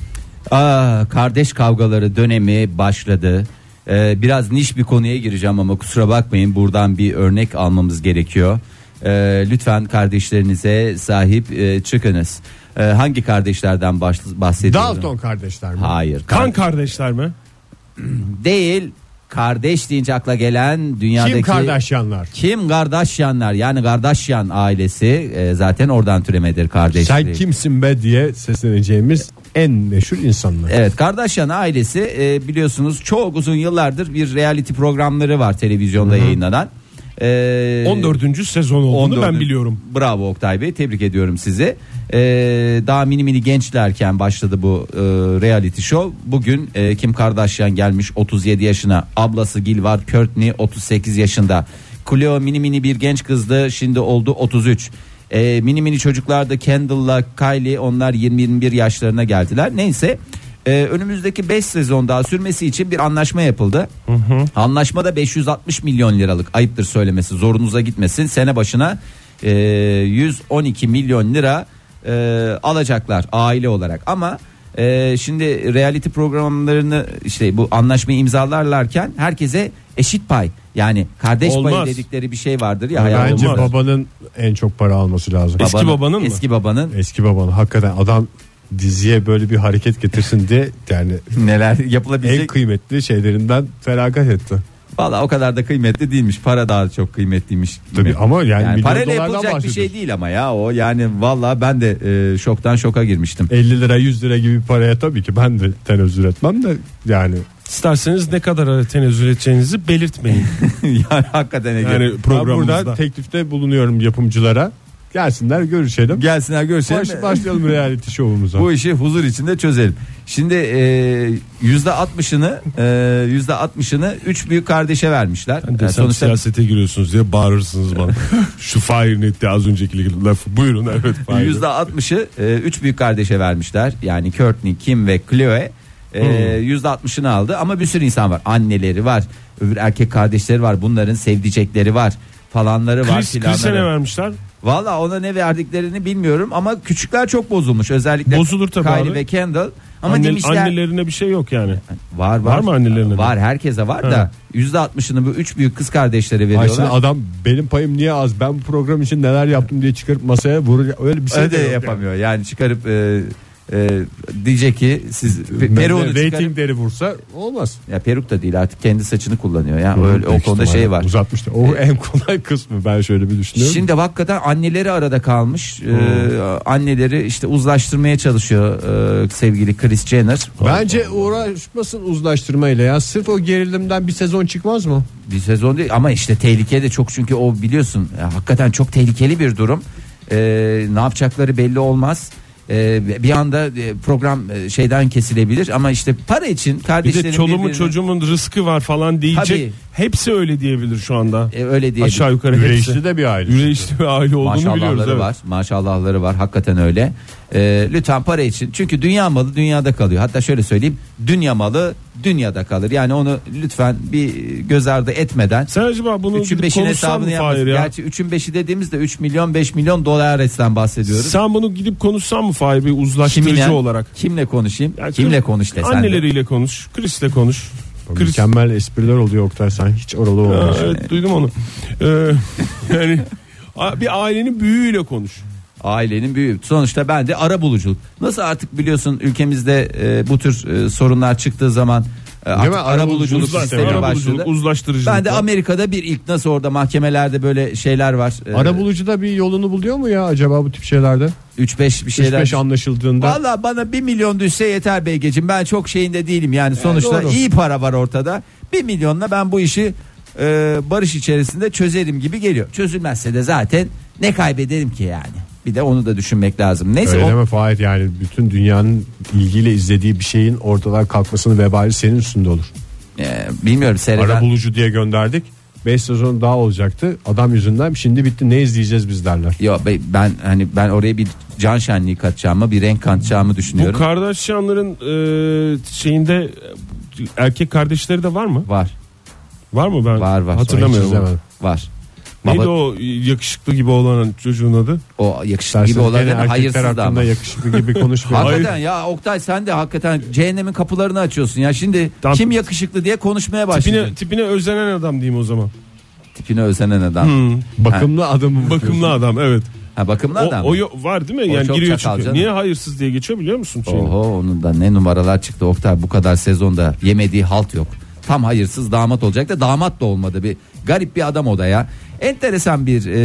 Speaker 5: Ah, kardeş kavgaları dönemi başladı. Ee, biraz niş bir konuya gireceğim ama kusura bakmayın buradan bir örnek almamız gerekiyor. Ee, lütfen kardeşlerinize sahip e, çıkınız. Ee, hangi kardeşlerden baş, bahsediyorum?
Speaker 3: Dalton kardeşler mi?
Speaker 5: Hayır. kar-
Speaker 4: Kan kardeşler mi?
Speaker 5: değil. Kardeş deyince akla gelen dünyadaki
Speaker 3: Kim Kardashianlar?
Speaker 5: Kim Kardashianlar yani Kardashian ailesi e, zaten oradan türemedir kardeşlik.
Speaker 3: Sen kimsin be diye sesleneceğimiz en meşhur insanlar.
Speaker 5: Evet Kardashian ailesi e, biliyorsunuz çok uzun yıllardır bir reality programları var televizyonda yayınlanan. E,
Speaker 4: 14. sezon olduğunu
Speaker 5: 14'ün.
Speaker 4: ben biliyorum.
Speaker 5: Bravo Oktay Bey tebrik ediyorum sizi. E, daha mini mini gençlerken başladı bu e, reality show. Bugün e, Kim Kardashian gelmiş 37 yaşına. Ablası Gil var Kourtney 38 yaşında. Cleo mini mini bir genç kızdı şimdi oldu Ee, 33. E, mini mini çocuklar da Kendall'la Kylie onlar 20-21 yaşlarına geldiler. Neyse e, önümüzdeki 5 sezon daha sürmesi için bir anlaşma yapıldı. Anlaşmada 560 milyon liralık ayıptır söylemesi zorunuza gitmesin. Sene başına e, 112 milyon lira e, alacaklar aile olarak ama e, şimdi reality programlarını işte bu anlaşmayı imzalarlarken herkese eşit pay yani kardeş
Speaker 4: Olmaz.
Speaker 5: payı dedikleri bir şey vardır ya
Speaker 3: Bence
Speaker 5: hayatımızda.
Speaker 3: babanın en çok para alması lazım.
Speaker 4: Eski
Speaker 5: Babanın-
Speaker 4: babanın mı?
Speaker 5: Eski babanın
Speaker 3: Eski babanın hakikaten adam diziye böyle bir hareket getirsin diye yani
Speaker 5: neler
Speaker 3: en
Speaker 5: yapılabilecek.
Speaker 3: kıymetli şeylerinden feragat etti.
Speaker 5: Valla o kadar da kıymetli değilmiş. Para daha çok kıymetliymiş.
Speaker 3: Tabii ama yani milyon
Speaker 5: parayla
Speaker 3: dolardan
Speaker 5: yapılacak bir şey
Speaker 3: bahsediyoruz.
Speaker 5: değil ama ya o yani valla ben de e, şoktan şoka girmiştim.
Speaker 3: 50 lira 100 lira gibi bir paraya tabii ki ben de tenezzül etmem de yani
Speaker 4: İsterseniz ne kadar tenezzül edeceğinizi belirtmeyin.
Speaker 5: yani hakikaten Ege.
Speaker 4: Yani
Speaker 3: ben
Speaker 4: programımızda.
Speaker 3: burada teklifte bulunuyorum yapımcılara. Gelsinler görüşelim.
Speaker 5: Gelsinler görüşelim.
Speaker 3: Baş- başlayalım reality şovumuza.
Speaker 5: Bu işi huzur içinde çözelim. Şimdi e, yüzde %60'ını yüzde %60'ını üç büyük kardeşe vermişler. Yani
Speaker 4: Desem
Speaker 5: sonuçta
Speaker 4: siyasete giriyorsunuz diye bağırırsınız bana. Şu Fahir'in ettiği az önceki lafı. Buyurun evet Fahir.
Speaker 5: %60'ı e, üç büyük kardeşe vermişler. Yani Courtney, Kim ve Chloe e,
Speaker 4: Hmm.
Speaker 5: %60'ını aldı ama bir sürü insan var. Anneleri var, öbür erkek kardeşleri var, bunların sevdicekleri var falanları var
Speaker 4: Chris, Chris'e ne
Speaker 5: filanları.
Speaker 4: vermişler?
Speaker 5: Valla ona ne verdiklerini bilmiyorum ama küçükler çok bozulmuş özellikle
Speaker 4: Bozulur tabii
Speaker 5: Kylie
Speaker 4: abi.
Speaker 5: ve Kendall. Ama
Speaker 4: Anne-
Speaker 5: demişler
Speaker 4: Annelerine bir şey yok yani.
Speaker 5: var var.
Speaker 4: Var mı annelerine de?
Speaker 5: Var herkese var da %60'ını bu üç büyük kız kardeşleri
Speaker 3: Ay
Speaker 5: veriyorlar.
Speaker 3: şimdi adam benim payım niye az ben bu program için neler yaptım diye çıkarıp masaya vurur öyle bir şey
Speaker 5: Öyle de
Speaker 3: de yok
Speaker 5: yapamıyor. Yani, çıkarıp e, e, diyecek ki siz pe-
Speaker 3: Yani.
Speaker 5: peruğunu çıkarıp
Speaker 3: Ratingleri vursa olmaz.
Speaker 5: Ya peruk da değil artık kendi saçını kullanıyor ya. Öyle o
Speaker 3: Büyük
Speaker 5: konuda
Speaker 3: ihtimalle
Speaker 5: şey var.
Speaker 3: Uzatmıştı. O en kolay kısmı ben şöyle bir düşünüyorum.
Speaker 5: Şimdi hakikaten anneleri arada kalmış. Ee,
Speaker 4: Hmm.
Speaker 5: anneleri işte uzlaştırmaya çalışıyor e, sevgili Chris Jenner.
Speaker 3: Bence uğraşmasın uzlaştırmayla ya. Sırf o gerilimden bir sezon çıkmaz mı?
Speaker 5: Bir sezon değil ama işte tehlike de çok çünkü o biliyorsun ya hakikaten çok tehlikeli bir durum. Ee, ne yapacakları belli olmaz. Ee, bir anda e, program e, şeyden kesilebilir ama işte para için
Speaker 4: Bir
Speaker 5: kardeşlerin
Speaker 4: de çoluğumun
Speaker 5: birbirini-
Speaker 4: çocuğumun rızkı var falan diyecek.
Speaker 5: Tabii.
Speaker 4: Hepsi öyle diyebilir şu anda.
Speaker 5: E, öyle diye
Speaker 4: Aşağı yukarı hepsi.
Speaker 3: Yüreğişli de bir şey. aile.
Speaker 4: Yüreğişli bir aile olduğunu biliyoruz.
Speaker 5: Maşallahları
Speaker 4: evet.
Speaker 5: var. Maşallahları var. Hakikaten öyle. Ee, lütfen para için. Çünkü dünya malı dünyada kalıyor. Hatta şöyle söyleyeyim. Dünya malı dünyada kalır. Yani onu lütfen bir göz ardı etmeden.
Speaker 4: Sen acaba bunu
Speaker 5: Üçün
Speaker 4: gidip
Speaker 5: beşin
Speaker 4: konuşsan mı
Speaker 5: hesabını yapmasın.
Speaker 4: Fahir ya?
Speaker 5: Gerçi üçün beşi dediğimizde 3 milyon 5 milyon dolar etten bahsediyoruz.
Speaker 4: Sen bunu gidip konuşsan mı Fahir bir uzlaştırıcı
Speaker 5: Kimine-
Speaker 4: olarak?
Speaker 5: Kimle konuşayım?
Speaker 4: Yani
Speaker 5: kimle
Speaker 4: Chris-
Speaker 5: konuş desen. de.
Speaker 4: Anneleriyle konuş. Chris'le konuş. Chris.
Speaker 3: Mükemmel espriler oluyor Oktay sen hiç oralı
Speaker 4: Aa,
Speaker 3: olmuyorsun.
Speaker 4: evet duydum onu. Ee, yani a- bir ailenin büyüğüyle konuş.
Speaker 5: Ailenin büyüğü. Sonuçta ben de ara buluculuk. Nasıl artık biliyorsun ülkemizde e, bu tür e, sorunlar çıktığı zaman e, artık
Speaker 3: mi?
Speaker 5: ara buluculuk
Speaker 3: Arabuluculuk
Speaker 5: sistemi
Speaker 3: sistemi.
Speaker 5: başladı.
Speaker 4: Arabuluculuk, uzlaştırıcılık.
Speaker 5: Ben de
Speaker 4: var.
Speaker 5: Amerika'da bir ilk nasıl orada mahkemelerde böyle şeyler var. Ee,
Speaker 3: Ara bulucu da bir yolunu buluyor mu ya acaba bu tip şeylerde?
Speaker 5: 3-5 bir
Speaker 3: 3
Speaker 5: şeyler.
Speaker 3: 5 anlaşıldığında.
Speaker 5: Valla bana 1 milyon düşse yeter beygecim. Ben çok şeyinde değilim yani sonuçta
Speaker 3: doğru.
Speaker 5: iyi para var ortada. 1 milyonla ben bu işi e, barış içerisinde çözerim gibi geliyor. Çözülmezse de zaten ne kaybederim ki yani. Bir de onu da düşünmek lazım. Neyse
Speaker 3: Öyle
Speaker 5: o-
Speaker 3: deme Fahir yani bütün dünyanın ilgiyle izlediği bir şeyin ortadan kalkmasının vebali senin üstünde olur.
Speaker 5: e, bilmiyorum seyreden.
Speaker 3: Ara bulucu diye gönderdik. 5 sezon daha olacaktı. Adam yüzünden şimdi bitti ne izleyeceğiz biz derler.
Speaker 5: Yo, be- ben hani ben oraya bir can şenliği katacağımı bir renk katacağımı
Speaker 4: Bu
Speaker 5: düşünüyorum.
Speaker 4: Kardashianların e, şeyinde e, erkek kardeşleri de var mı?
Speaker 5: var
Speaker 4: Var mı ben?
Speaker 5: Var, var.
Speaker 4: Hatırlamıyorum.
Speaker 3: Hiç izlemedim.
Speaker 5: var.
Speaker 4: Neydi
Speaker 5: Baba-
Speaker 4: o yakışıklı gibi olan çocuğun adı?
Speaker 5: O yakışıklı
Speaker 3: Dersiniz
Speaker 5: gibi olan
Speaker 3: gene
Speaker 5: değil mi?
Speaker 3: erkekler
Speaker 5: hayırsız da
Speaker 3: hakkında
Speaker 5: ama.
Speaker 3: yakışıklı gibi konuşmuyor.
Speaker 5: Hakikaten ya Oktay sen de hakikaten cehennemin kapılarını açıyorsun ya. Şimdi
Speaker 4: Tam-
Speaker 5: kim yakışıklı diye konuşmaya başlıyor.
Speaker 4: Tipine,
Speaker 5: Tipine,
Speaker 4: tipine özlenen adam diyeyim o zaman.
Speaker 5: özenen adam.
Speaker 3: Bakımlı adamı
Speaker 4: Bakımlı adam evet.
Speaker 5: Ha bakımlı
Speaker 4: Hmm. O,
Speaker 5: adam.
Speaker 4: o yo- var değil mi?
Speaker 5: O
Speaker 4: Yani
Speaker 5: çok
Speaker 4: giriyor
Speaker 5: çakal
Speaker 4: çıkıyor.
Speaker 5: canım.
Speaker 4: Niye hayırsız diye geçiyor biliyor musun? şeyini?
Speaker 5: Oho onun da ne numaralar çıktı Oktay bu kadar sezonda yemediği halt yok. Tam hayırsız damat olacak da damat da olmadı bir garip bir adam o da ya. Enteresan bir e,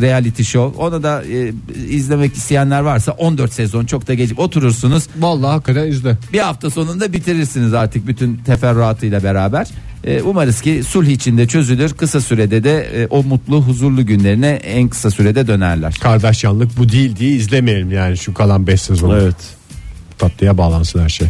Speaker 5: reality show. Onu da e, izlemek isteyenler varsa 14 sezon çok da geçip oturursunuz.
Speaker 3: Vallahi hakikaten izle.
Speaker 5: Bir hafta sonunda bitirirsiniz artık bütün teferruatıyla beraber. Ee, umarız ki sulh içinde çözülür. Kısa sürede de e, o mutlu, huzurlu günlerine en kısa sürede dönerler.
Speaker 3: Kardeşyanlık bu değil diye izlemeyelim yani şu kalan 5 sezon.
Speaker 4: Evet.
Speaker 3: Tatlıya bağlansın her şey.